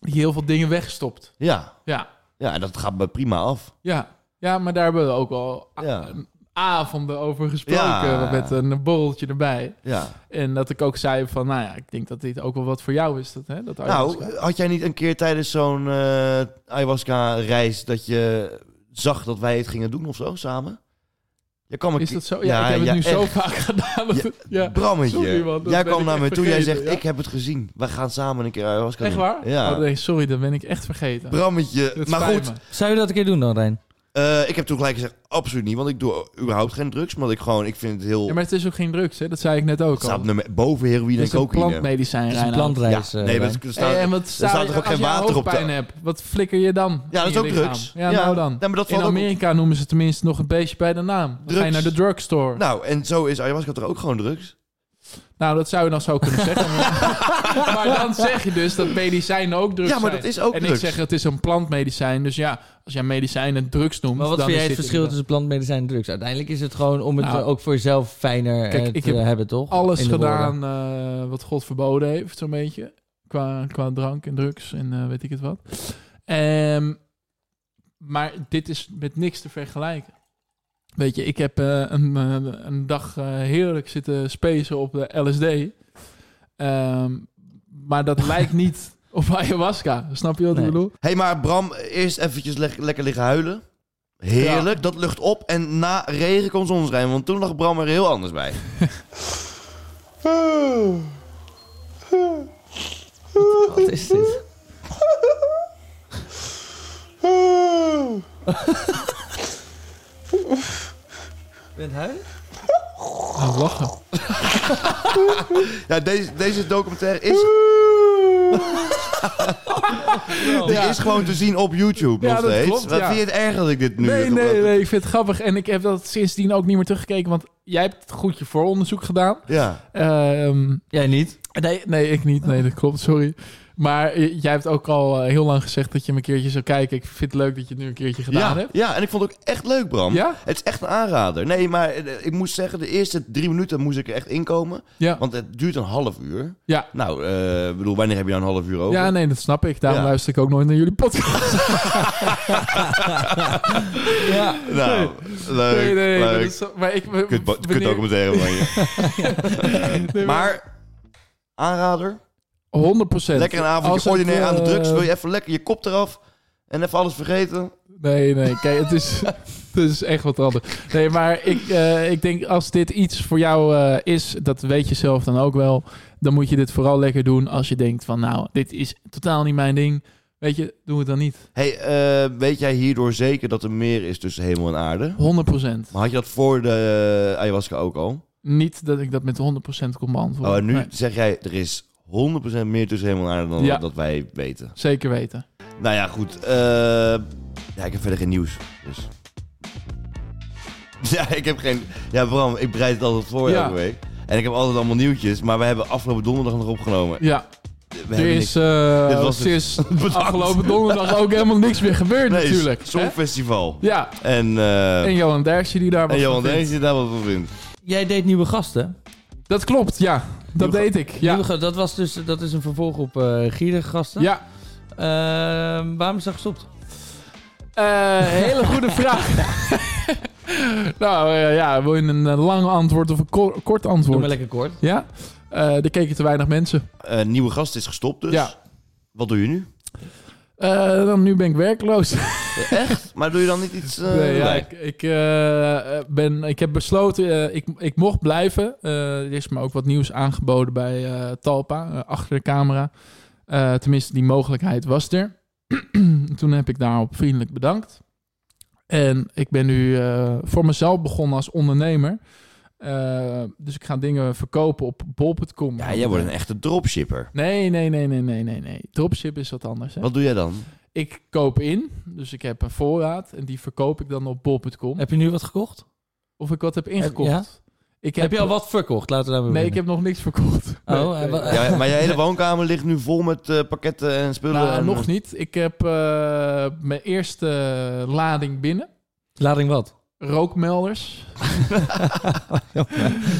S3: die heel veel dingen wegstopt.
S1: Ja.
S3: Ja,
S1: Ja, en dat gaat me prima af.
S3: ja. ja maar daar hebben we ook al a-
S1: Ja.
S3: avonden over gesproken
S1: Ja.
S3: met een borreltje erbij.
S1: Ja.
S3: En dat ik ook zei van, nou ja, ik denk dat dit ook wel wat voor jou is. Dat, hè, dat ayahuasca.
S1: Nou, had jij niet een keer tijdens zo'n eh, ayahuasca-reis dat je zag dat wij het gingen doen of zo samen? Je kwam een
S3: is
S1: keer-
S3: dat zo? Ja, ik heb het
S1: ja,
S3: nu zo
S1: echt.
S3: vaak gedaan. dat
S1: Ja,
S3: het- ja.
S1: Brammetje,
S3: Sorry, man, dat
S1: jij
S3: ben
S1: kwam
S3: ik
S1: naar
S3: echt
S1: me toe. Jij
S3: vergeten,
S1: zegt:
S3: ja.
S1: Ik heb het gezien. We gaan samen een keer ayahuasca
S3: Echt
S1: doen.
S3: waar?
S1: Ja.
S3: Oh, nee, sorry, dan ben ik echt vergeten.
S1: Brammetje.
S3: Dat
S1: maar
S3: spijt
S1: goed,
S3: me.
S2: Zou je dat een keer doen dan, Rijn?
S1: eh, ik heb toen gelijk gezegd: Absoluut niet. Want ik doe überhaupt geen drugs. Maar ik gewoon, ik vind het heel.
S3: Ja, maar het is ook geen drugs, hè? Dat zei ik net ook
S1: het staat
S3: al.
S1: nummer, boven heroïne
S3: Het
S1: en
S3: is een
S1: cocaïne.
S3: plantmedicijn,
S2: Het is een
S3: Reinoud.
S1: Ja,
S2: plantreis. eh,
S1: nee, maar
S2: Rijn.
S1: het er staat,
S3: Hey, en wat
S1: staat
S3: staat
S1: toch
S3: er
S1: ook geen water op de-
S3: hoofdpijn hebt, wat flikker je dan?
S1: Ja, dat
S3: in
S1: is
S3: je
S1: ook
S3: lichaam?
S1: drugs.
S3: Ja,
S1: Ja,
S3: nou dan.
S1: nee, maar dat
S3: in
S1: valt ook-
S3: Amerika noemen ze tenminste nog een beestje bij de naam. Dan ga je
S1: Drugs.
S3: naar de drugstore. Nou,
S1: Nou, en zo is ayahuasca toch ook gewoon drugs?
S3: dat zou je dan zo kunnen zeggen. maar maar dan zeg je dus dat medicijnen ook drugs
S1: ja, maar
S3: zijn.
S1: dat is ook
S3: en
S1: drugs.
S3: ik zeg het is een plantmedicijn. Dus ja, als jij medicijnen drugs noemt...
S2: Maar wat
S3: dan
S2: vind jij
S3: is
S2: het
S3: dit
S2: verschil
S3: inderdaad-
S2: tussen plantmedicijn en drugs? Uiteindelijk is het gewoon om het
S3: Nou,
S2: eh, ook voor jezelf fijner
S3: kijk,
S2: eh,
S3: ik
S2: te
S3: heb
S2: hebben, toch?
S3: Alles
S2: In de woorden.
S3: gedaan eh, wat God verboden heeft, zo'n beetje. Qua, qua drank en drugs en eh, weet ik het wat. Ehm, maar dit is met niks te vergelijken. Weet je, ik heb eh, een, eh, een dag eh, heerlijk zitten spacen op de LSD. Ehm, maar dat lijkt niet op ayahuasca. Snap je wat
S2: Nee.
S3: ik bedoel?
S1: Hé, hey, maar Bram, eerst eventjes le- lekker liggen huilen. Heerlijk, dat lucht op. En na regen kon zonschijn, want toen lag Bram er heel anders bij.
S2: Wat is dit? Bent huilen?
S3: Nou,
S2: Oh.
S3: lachen.
S1: Ja, deze, deze documentaire is, die
S3: Ja.
S1: is gewoon te zien op YouTube
S3: Ja,
S1: nog
S3: dat
S1: steeds.
S3: klopt,
S1: Wat
S3: ja.
S1: vind je het erg dat ik dit nu...
S3: Nee,
S1: doe?
S3: nee, nee, ik vind het grappig. En ik heb dat sindsdien ook niet meer teruggekeken. Want jij hebt het goedje vooronderzoek gedaan.
S1: Ja,
S3: Ehm,
S2: Jij niet?
S3: Nee, nee, ik niet. Nee, dat klopt. Sorry. Maar j- jij hebt ook al eh, heel lang gezegd dat je hem een keertje zou kijken. Ik vind het leuk dat je het nu een keertje gedaan
S1: ja,
S3: hebt.
S1: ja, en ik vond het ook echt leuk, Bram.
S3: Ja?
S1: Het is echt een aanrader. Nee, maar eh, ik moest zeggen, de eerste drie minuten moest ik er echt inkomen.
S3: Ja.
S1: Want het duurt een half uur.
S3: Ja.
S1: Nou, eh, ik bedoel, wanneer heb je nou een half uur over?
S3: ja, nee, dat snap ik. Daarom
S1: Ja.
S3: luister ik ook nooit naar jullie podcast.
S2: Ja.
S1: Nou, leuk,
S3: nee, nee.
S1: leuk.
S3: maar dat is- maar ik...
S1: Kut, ba- kut
S3: wanneer-
S1: documentaire van je.
S3: nee,
S1: Maar aanrader,
S3: 100 procent.
S1: lekker een avondje ordinair aan de
S3: eh,
S1: drugs. Wil je even lekker je kop eraf en even alles vergeten?
S3: Nee, nee. Kijk, het is, het is echt wat anders. Nee, maar ik, eh, ik denk als dit iets voor jou eh, is, dat weet je zelf dan ook wel. Dan moet je dit vooral lekker doen als je denkt van nou, dit is totaal niet mijn ding. Weet je, doe het dan niet.
S1: hey, eh, weet jij hierdoor zeker dat er meer is tussen hemel en aarde?
S3: 100 procent.
S1: Maar had je dat voor de eh, ayahuasca ook al?
S3: Niet dat ik dat met 100% kon beantwoorden.
S1: Oh, en nu
S3: Nee,
S1: zeg jij, er is 100% meer tussen hemel en aarde dan
S3: Ja.
S1: dat wij weten.
S3: zeker weten.
S1: Nou ja, goed. eh, ja, ik heb verder geen nieuws, dus... Ja, ik heb geen... Ja, Bram, ik bereid het altijd voor
S3: Ja.
S1: elke week. En ik heb altijd allemaal nieuwtjes, maar we hebben afgelopen donderdag nog opgenomen.
S3: Ja,
S1: We
S3: er
S1: hebben niks-
S3: is, eh,
S1: Dit was het.
S3: sinds
S1: Bedankt.
S3: afgelopen donderdag ook helemaal niks meer gebeurd
S1: Nee,
S3: eh, natuurlijk. hè?
S1: Songfestival.
S3: Ja,
S1: En, eh
S3: en
S1: en,
S3: Johan Derksen die daar wat
S1: Johan
S3: van vindt.
S1: Deens die daar wat van vindt.
S2: Jij deed nieuwe gasten.
S3: Dat klopt, ja. Dat
S1: Nieuwe
S3: deed ik. Ja.
S2: Nieuwe ga- dat, was dus, dat is een vervolg op eh gierige gasten.
S3: Ja,
S2: Ehm, waarom is dat gestopt?
S3: Eh, hele goede vraag. nou eh, ja, wil je een eh, lang antwoord of een ko- kort
S2: Doe maar
S3: antwoord?
S2: lekker kort.
S3: Ja, Eh er keken te weinig mensen.
S1: Eh, nieuwe gast is gestopt dus.
S3: Ja.
S1: Wat doe je nu?
S3: Eh, dan, nu ben ik werkloos.
S1: Echt? Maar doe je dan niet iets... eh,
S3: Nee, ja,
S1: bij?
S3: ik, ik, eh, ben, ik heb besloten, eh, ik, ik mocht blijven. Eh, er is me ook wat nieuws aangeboden bij eh, Talpa, eh, achter de camera. Eh, tenminste, die mogelijkheid was er. Toen heb ik daarop vriendelijk bedankt. En ik ben nu eh, voor mezelf begonnen als ondernemer. Eh, dus ik ga dingen verkopen op bol.com.
S1: Ja, jij wordt een echte dropshipper.
S3: Eh, Nee, nee, nee, nee, nee, nee, nee. Dropship is wat anders. Hè?
S1: Wat doe jij dan?
S3: Ik koop in, dus ik heb een voorraad en die verkoop ik dan op bol.com.
S2: Heb je nu wat gekocht?
S3: Of ik wat heb ingekocht.
S2: Eh, Ja?
S3: Ik
S2: Heb, je al wat verkocht? Laten we daarmee
S3: Nee, ik
S2: beginnen.
S3: heb nog niks verkocht. Nee,
S2: Oh, en
S3: nee.
S2: wa-
S1: Ja, maar je hele woonkamer ligt nu vol met eh, pakketten en spullen.
S3: Nou,
S1: en,
S3: nog niet. Ik heb eh, mijn eerste lading binnen.
S2: Lading wat?
S3: Rookmelders.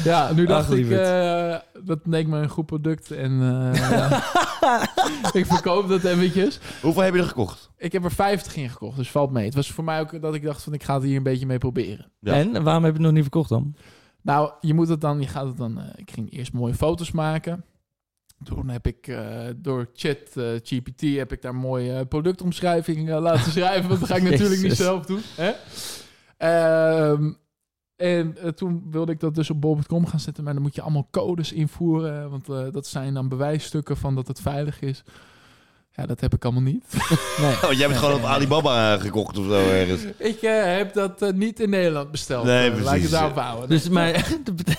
S3: ja, nu dacht
S2: Ach,
S3: ik,
S2: lieverd.
S3: eh, dat leek me een goed product. En eh, ja. ik verkoop dat eventjes.
S1: Hoeveel heb je er gekocht?
S3: Ik heb er 50 in gekocht, dus valt mee. Het was voor mij ook dat ik dacht van ik ga het hier een beetje mee proberen.
S1: Ja.
S2: En waarom heb je het nog niet verkocht dan?
S3: Nou, je moet het dan, je gaat het dan. eh, ik ging eerst mooie foto's maken. Toen heb ik eh, door chat eh, GPT heb ik daar mooie eh, productomschrijvingen eh, laten schrijven. Want dat ga ik natuurlijk niet
S2: Jezus.
S3: zelf doen. Hè? Ehm, en eh, toen wilde ik dat dus op bol.com gaan zetten. Maar dan moet je allemaal codes invoeren. Want eh, dat zijn dan bewijsstukken van dat het veilig is. Ja, dat heb ik allemaal niet.
S1: Oh, jij hebt het gewoon op Alibaba eh, gekocht of zo ergens.
S3: Ik eh, heb dat eh, niet in Nederland besteld.
S1: Nee,
S3: Eh, Laat ik
S1: precies.
S3: het daarop houden.
S2: Dus, maar dat bete-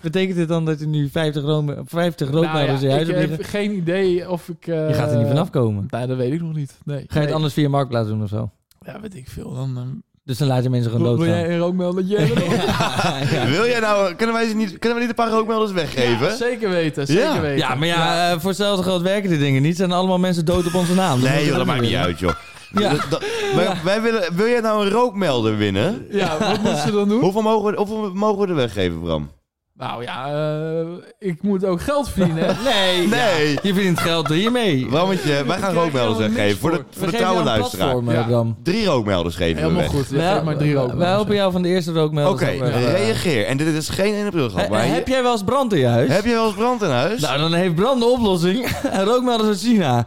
S2: betekent dit dan dat er nu 50, room, 50
S3: Nou ja,
S2: rookmelders in je huis
S3: ik
S2: hebt
S3: heb
S2: liggen?
S3: geen idee of ik... eh,
S2: Je gaat er niet vanaf komen.
S3: Nee, dat weet ik nog niet. Nee.
S2: Ga je het
S3: Nee.
S2: anders via Marktplaats doen of zo?
S3: Ja, weet ik veel. Dan, ehm,
S2: Dus dan laat je mensen gewoon
S3: wil, wil
S2: doodgaan.
S3: jij een rookmeldertje hebben?
S2: ja.
S1: Wil jij nou, kunnen wij, ze niet, kunnen wij niet een paar rookmelders weggeven?
S3: Zeker weten, zeker
S1: Ja.
S3: weten.
S2: Ja, maar ja, eh, voor hetzelfde groot werken die dingen niet. Zijn allemaal mensen dood op onze naam.
S1: nee joh, dat maakt niet
S2: willen.
S1: uit joh.
S2: Ja.
S1: Dat- dat- wij, wij willen, wil jij nou een rookmelder winnen?
S3: Ja, wat moeten ze dan doen?
S1: Hoeveel mogen, we- hoeveel mogen we er weggeven, Bram?
S3: Nou ja, eh, ik moet ook geld verdienen.
S2: Nee.
S1: Nee!
S2: Je verdient geld hiermee.
S1: Brammetje, wij gaan
S3: krijg
S1: rookmelders
S3: helemaal
S1: weggeven
S3: niks
S1: voor de,
S3: voor.
S1: voor de trouwe luisteraar.
S3: Ja.
S2: dan.
S1: Drie rookmelders geven we
S3: Helemaal
S1: weg.
S3: goed. Ja, geef maar drie
S2: Wij
S3: rookmelders.
S2: helpen jou van de eerste
S1: Oké,
S2: rookmelder.
S1: reageer. En dit is geen 1 april grap, maar
S2: eh, heb jij wel eens brand in je huis?
S1: heb je wel eens brand in huis?
S2: Nou, dan heeft brand de oplossing. en rookmelders uit China.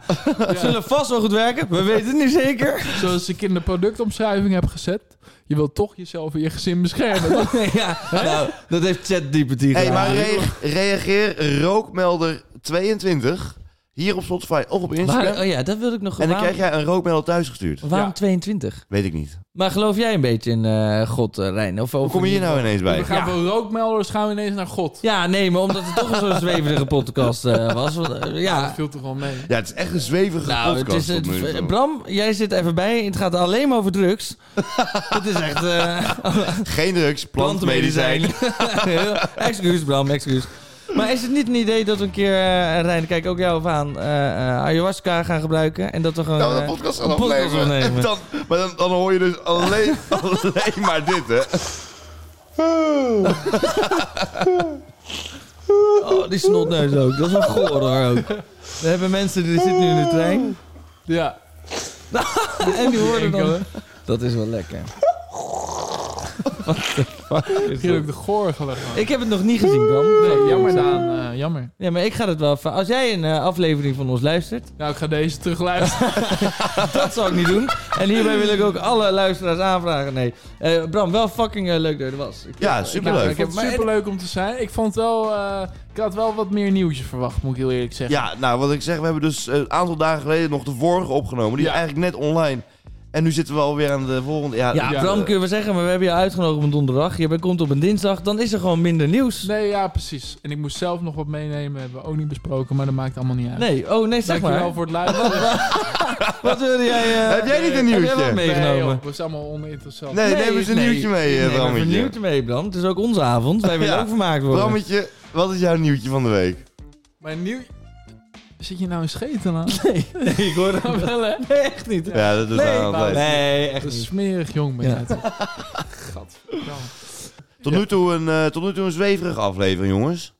S2: Zullen vast wel goed werken. We weten het niet zeker.
S3: Zoals ik in de productomschrijving heb gezet. Je wilt toch jezelf en je gezin beschermen. toch?
S2: Nee, ja. Nou, dat heeft ChatGPT gedaan.
S1: hey, maar rea- reageer rookmelder 22 hier op Spotify of op Instagram.
S2: Waar- oh ja, dat wilde ik nog.
S1: en dan
S2: waarom-
S1: krijg jij een rookmelder thuisgestuurd.
S2: Waarom
S3: Ja.
S2: 22?
S1: Weet ik niet.
S2: Maar geloof jij een beetje in eh, God, eh, Rijn? Of,
S1: Hoe kom je hier nou ineens bij?
S3: We gaan van rookmelders gaan we ineens naar God.
S2: Ja, nee, maar omdat het toch een zo'n zweverige podcast eh, was. want, eh,
S3: Dat
S2: ja,
S3: viel toch wel mee.
S1: Ja, het is echt een zwevige
S2: nou, het
S1: podcast.
S2: is,
S1: tot nu toe.
S2: het- Bram, jij zit even bij. Het gaat alleen maar over drugs. het is echt eh
S1: Geen drugs, plantmedicijn.
S2: excuus, Bram, excuus. Maar is het niet een idee dat we een keer, eh Rijn, kijk ook jou even aan, eh, eh, ayahuasca gaan gebruiken? En dat we gewoon...
S1: Nou,
S2: eh,
S1: een podcast gaan
S2: een podcast
S1: opnemen.
S2: opnemen.
S1: En Dan, maar dan, dan hoor je dus alleen, alleen maar dit, hè.
S2: oh, die snotneus ook. Dat is wel goor hoor ook. We hebben mensen die zitten nu in de trein. Ah,
S3: Ja.
S2: En die horen dan...
S3: Enkele.
S2: Dat is wel lekker.
S3: Hier heb ik de goor gelegd.
S2: Ik heb het nog niet gezien, Bram.
S3: Nee, jammer
S1: nou.
S3: Daan, eh, jammer.
S2: Ja, maar ik ga het wel... even- Als jij een eh, aflevering van ons luistert,
S3: Nou, ik ga deze terugluisteren.
S2: dat zou ik niet doen. En hierbij wil ik ook alle luisteraars aanvragen. Nee, Eh, Bram, wel fucking eh, leuk dat je er was. Ik-
S1: Ja,
S3: Nou,
S1: superleuk.
S3: ik heb het superleuk om te zijn. Ik vond het wel... eh, ik had wel wat meer nieuwtjes verwacht, moet ik heel eerlijk zeggen.
S1: Ja, nou, wat ik zeg, we hebben dus eh, een aantal dagen geleden nog de vorige opgenomen. Die
S3: Ja.
S1: is eigenlijk net online. En nu zitten we alweer aan de volgende. Ja,
S2: Ja,
S1: eh,
S2: Bram kunnen we zeggen, maar we hebben je uitgenodigd op een donderdag. Je bent- komt op een dinsdag, dan is er gewoon minder nieuws. Nee,
S3: Nee, ja, precies. En ik moest zelf nog wat meenemen. Hebben we ook niet besproken, maar dat maakt allemaal niet uit.
S2: oh nee, zeg
S3: Dankjewel
S2: maar.
S3: voor het luisteren.
S2: Wat wilde jij... eh,
S1: Heb jij niet een
S2: Heb jij wat
S1: nieuwtje? Nee,
S3: Nee,
S2: meegenomen?
S3: joh, dat is allemaal oninteressant.
S1: neem eens een
S2: nee.
S1: nieuwtje mee,
S2: Nee,
S1: eh,
S2: maar
S1: Brammetje.
S2: vernieuwd mee, Bram. Het is ook onze avond. Wij willen
S1: Ja.
S2: ook vermaakt worden.
S1: Brammetje, wat is jouw nieuwtje van de week?
S3: Mijn nieuw... Zit je nou een scheten aan?
S2: Nee, ik hoor dat
S3: Nou wel, hè?
S2: Nee, echt niet.
S1: Ja, nou, dat is
S2: Nee,
S1: aan het lijst.
S2: Nee, echt
S3: Een
S2: niet.
S3: smerig jong ben
S2: Ja.
S3: jij toch? Gadverdamme.
S1: Tot nu toe een, eh, tot nu toe een zweverige aflevering, jongens.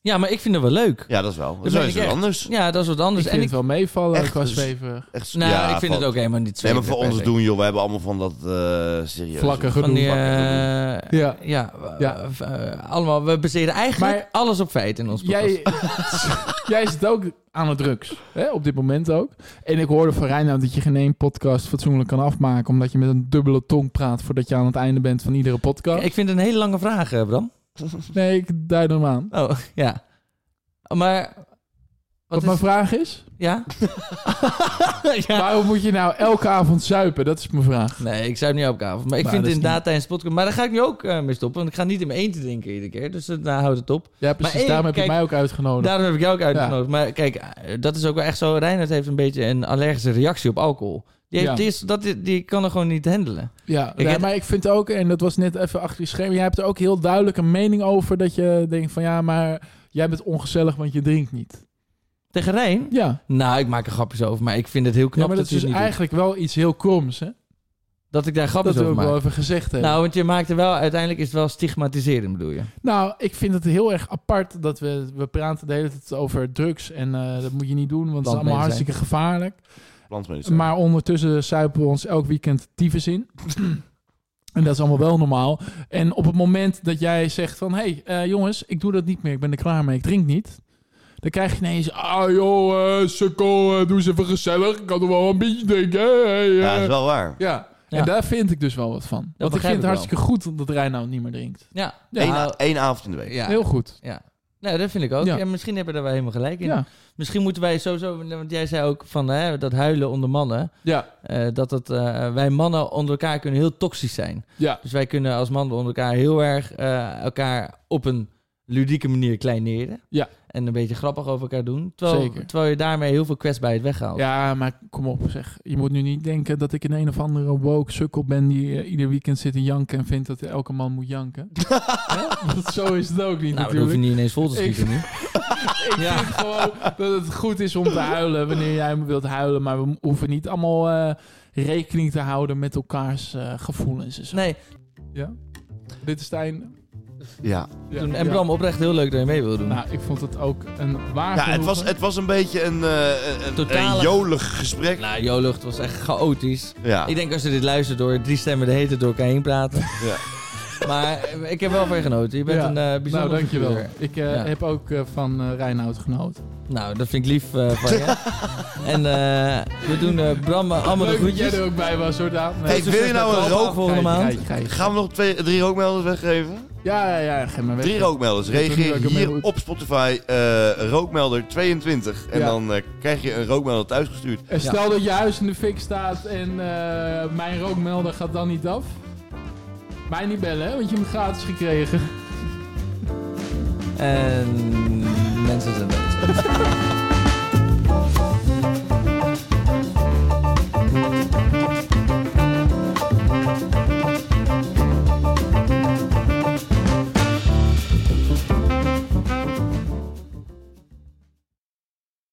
S2: Ja, maar ik vind het wel leuk.
S1: Ja, dat is wel. Dat
S2: Dat
S1: is wel
S2: meen
S1: eens
S2: ik
S1: wat
S2: echt.
S1: anders.
S2: Ja, dat is wat anders.
S3: Ik
S2: en
S3: vind
S2: ik,
S3: het wel meevallen
S1: echt
S3: qua
S1: dus-
S3: zweverig.
S1: Echt,
S2: nou,
S1: ja,
S2: ik vind het
S1: van-
S2: ook helemaal niet
S1: Nee,
S2: zweverig
S1: maar voor ons
S2: per se.
S1: doen, joh. We hebben allemaal van dat eh serieus.
S3: Vlakke
S2: Van
S3: gedoe.
S2: die,
S1: Gedoe.
S2: eh,
S3: Ja.
S2: dus ja, eh,
S3: Ja.
S2: eh, allemaal, we baseren eigenlijk
S3: Maar-
S2: alles op feiten in ons podcast.
S3: Jij, jij zit ook aan de drugs, hè? op dit moment ook. En ik hoorde van Reinoud dat je geen één podcast fatsoenlijk kan afmaken... omdat je met een dubbele tong praat voordat je aan het einde bent van iedere podcast.
S2: Ik vind het een hele lange vraag, eh, Bram.
S3: Nee, ik duid hem aan.
S2: Oh, ja. Maar Wat
S3: Wat, mijn
S2: is...
S3: vraag is,
S2: Ja? ja.
S3: waarom moet je nou elke avond zuipen? Dat is mijn vraag.
S2: Nee, ik zou het niet elke avond. Maar ik vind
S3: Maar dat
S2: het
S3: is
S2: inderdaad tijdens de podcast... Maar daar ga ik nu ook eh, mee stoppen. Want ik ga niet in mijn eentje drinken iedere keer. Dus eh, nou houdt het op.
S3: Ja, precies.
S2: Maar één,
S3: daarom heb
S2: kijk,
S3: je mij ook uitgenodigd.
S2: Daarom heb ik jou ook uitgenodigd. Maar kijk, eh, dat is ook wel echt zo. Reinhard heeft een beetje een allergische reactie op alcohol. Die, heeft,
S3: Ja.
S2: die, is, dat, die- die kan er gewoon niet handelen.
S3: ja,
S2: ik
S3: ja,
S2: heb-
S3: maar ik vind ook, en dat was net even achter je scherm, jij hebt er ook heel duidelijk een mening over dat je denkt van ja, maar jij bent ongezellig, want je drinkt niet.
S2: Tegen Rijn?
S3: Ja,
S2: Nou, ik maak er grapjes over. Maar ik vind het heel knap
S3: ja maar dat is
S2: hij het
S3: dus
S2: niet doet.
S3: eigenlijk wel iets heel kroms, hè?
S2: Dat ik daar grapjes
S3: Dat we
S2: over
S3: ook
S2: maak.
S3: wel even gezegd hebben.
S2: Nou, want je maakt er wel... Uiteindelijk is het wel stigmatiserend, bedoel je?
S3: Nou, ik vind het heel erg apart dat we, we praten de hele tijd over drugs. En eh, dat moet je niet doen, want het is allemaal
S2: Landmedicijn.
S3: hartstikke gevaarlijk.
S1: Plantmedicijn.
S3: Maar ondertussen zuipen we ons elk weekend tyfus in. en dat is allemaal wel normaal. En op het moment dat jij zegt van... hé, hey, eh, jongens, ik doe dat niet meer. Ik ben er klaar mee. Ik drink niet. Dan krijg je ineens... Ah joh, eh sukkel, eh, doe eens even gezellig. Ik kan er wel een beetje drinken. hè, hey,
S1: Ja,
S3: eh."
S1: dat is wel waar.
S3: ja.
S2: Ja.
S3: en daar vind ik dus wel wat van. Want ik
S2: begrijp
S3: vind
S2: ik
S3: het
S2: wel.
S3: hartstikke goed dat Reinoud niet meer drinkt.
S2: Ja.
S3: Ja.
S1: Eén, a- één avond in de week.
S2: Nou, ja.
S3: Heel goed.
S2: Ja. Nou, dat vind ik ook.
S3: Ja.
S2: Ja. misschien hebben we daar wel helemaal gelijk in.
S3: Ja.
S2: Misschien moeten wij sowieso... Want jij zei ook van hè, dat huilen onder mannen...
S3: Ja.
S2: eh, dat dat, eh, wij mannen onder elkaar kunnen heel toxisch zijn.
S3: Ja.
S2: Dus wij kunnen als mannen onder elkaar heel erg eh, elkaar op een ludieke manier kleineren.
S3: Ja.
S2: En een beetje grappig over elkaar doen. Terwijl,
S3: Zeker.
S2: terwijl je daarmee heel veel kwetsbaarheid weghaalt.
S3: Ja, maar kom op zeg. Je moet nu niet denken dat ik een een of andere woke sukkel ben... die eh, ieder weekend zit te janken en vindt dat elke man moet janken. Hè? Want zo is het ook
S2: nou,
S3: niet
S2: dan hoef
S3: natuurlijk.
S2: je niet ineens vol te
S3: Ik-
S2: schieten nu.
S3: Ik
S2: Ja.
S3: vind gewoon dat het goed is om te huilen wanneer jij wilt huilen. Maar we hoeven niet allemaal eh, rekening te houden met elkaars eh, gevoelens en zo.
S2: Nee,
S3: Ja? Dit is Stijn.
S1: Ja.
S3: Ja.
S2: toen, en
S3: Ja.
S2: Bram, oprecht heel leuk dat je mee wil doen.
S3: Nou, ik vond het ook een waar
S1: Ja, het
S3: genoegen.
S1: was, het was een beetje een, eh, een- een,
S2: Totale-
S1: een jolig gesprek.
S2: Nou, Jolucht was echt chaotisch.
S1: Ja.
S2: Ik denk als je dit luistert door drie stemmen de hele tijd door elkaar heen praten.
S1: Ja.
S2: Maar eh, ik heb wel van je genoten. Je bent
S3: Ja.
S2: een eh bijzonder
S3: Nou, dankjewel.
S2: figuur.
S3: Ik eh,
S2: Ja.
S3: heb ook eh, van eh Reinoud genoten.
S2: Nou, dat vind ik lief eh, van je. en eh, we doen eh, Bram eh, allemaal de
S3: Leuk dat
S2: groetjes.
S3: jij er ook bij was hoor, Daan. Nee.
S1: Hey, wil je nou een rook?
S2: volgende
S3: Geitje,
S2: maand?
S3: geitje, geitje.
S1: Gaan we nog twee, drie rookmelders weggeven?
S3: Ja, ja, ja, geef maar weg.
S1: Drie rookmelders.
S3: Ik weet niet
S1: Reageer
S3: waar ik ermee
S1: hier
S3: moet.
S1: op Spotify eh, rookmelder 22. En
S3: Ja.
S1: dan eh, krijg je een rookmelder thuisgestuurd.
S3: En Eh, stel dat je huis in de fik staat en eh, mijn rookmelder gaat dan niet af. Mij niet bellen, hè, want je hebt hem gratis gekregen.
S2: En mensen zijn mensen.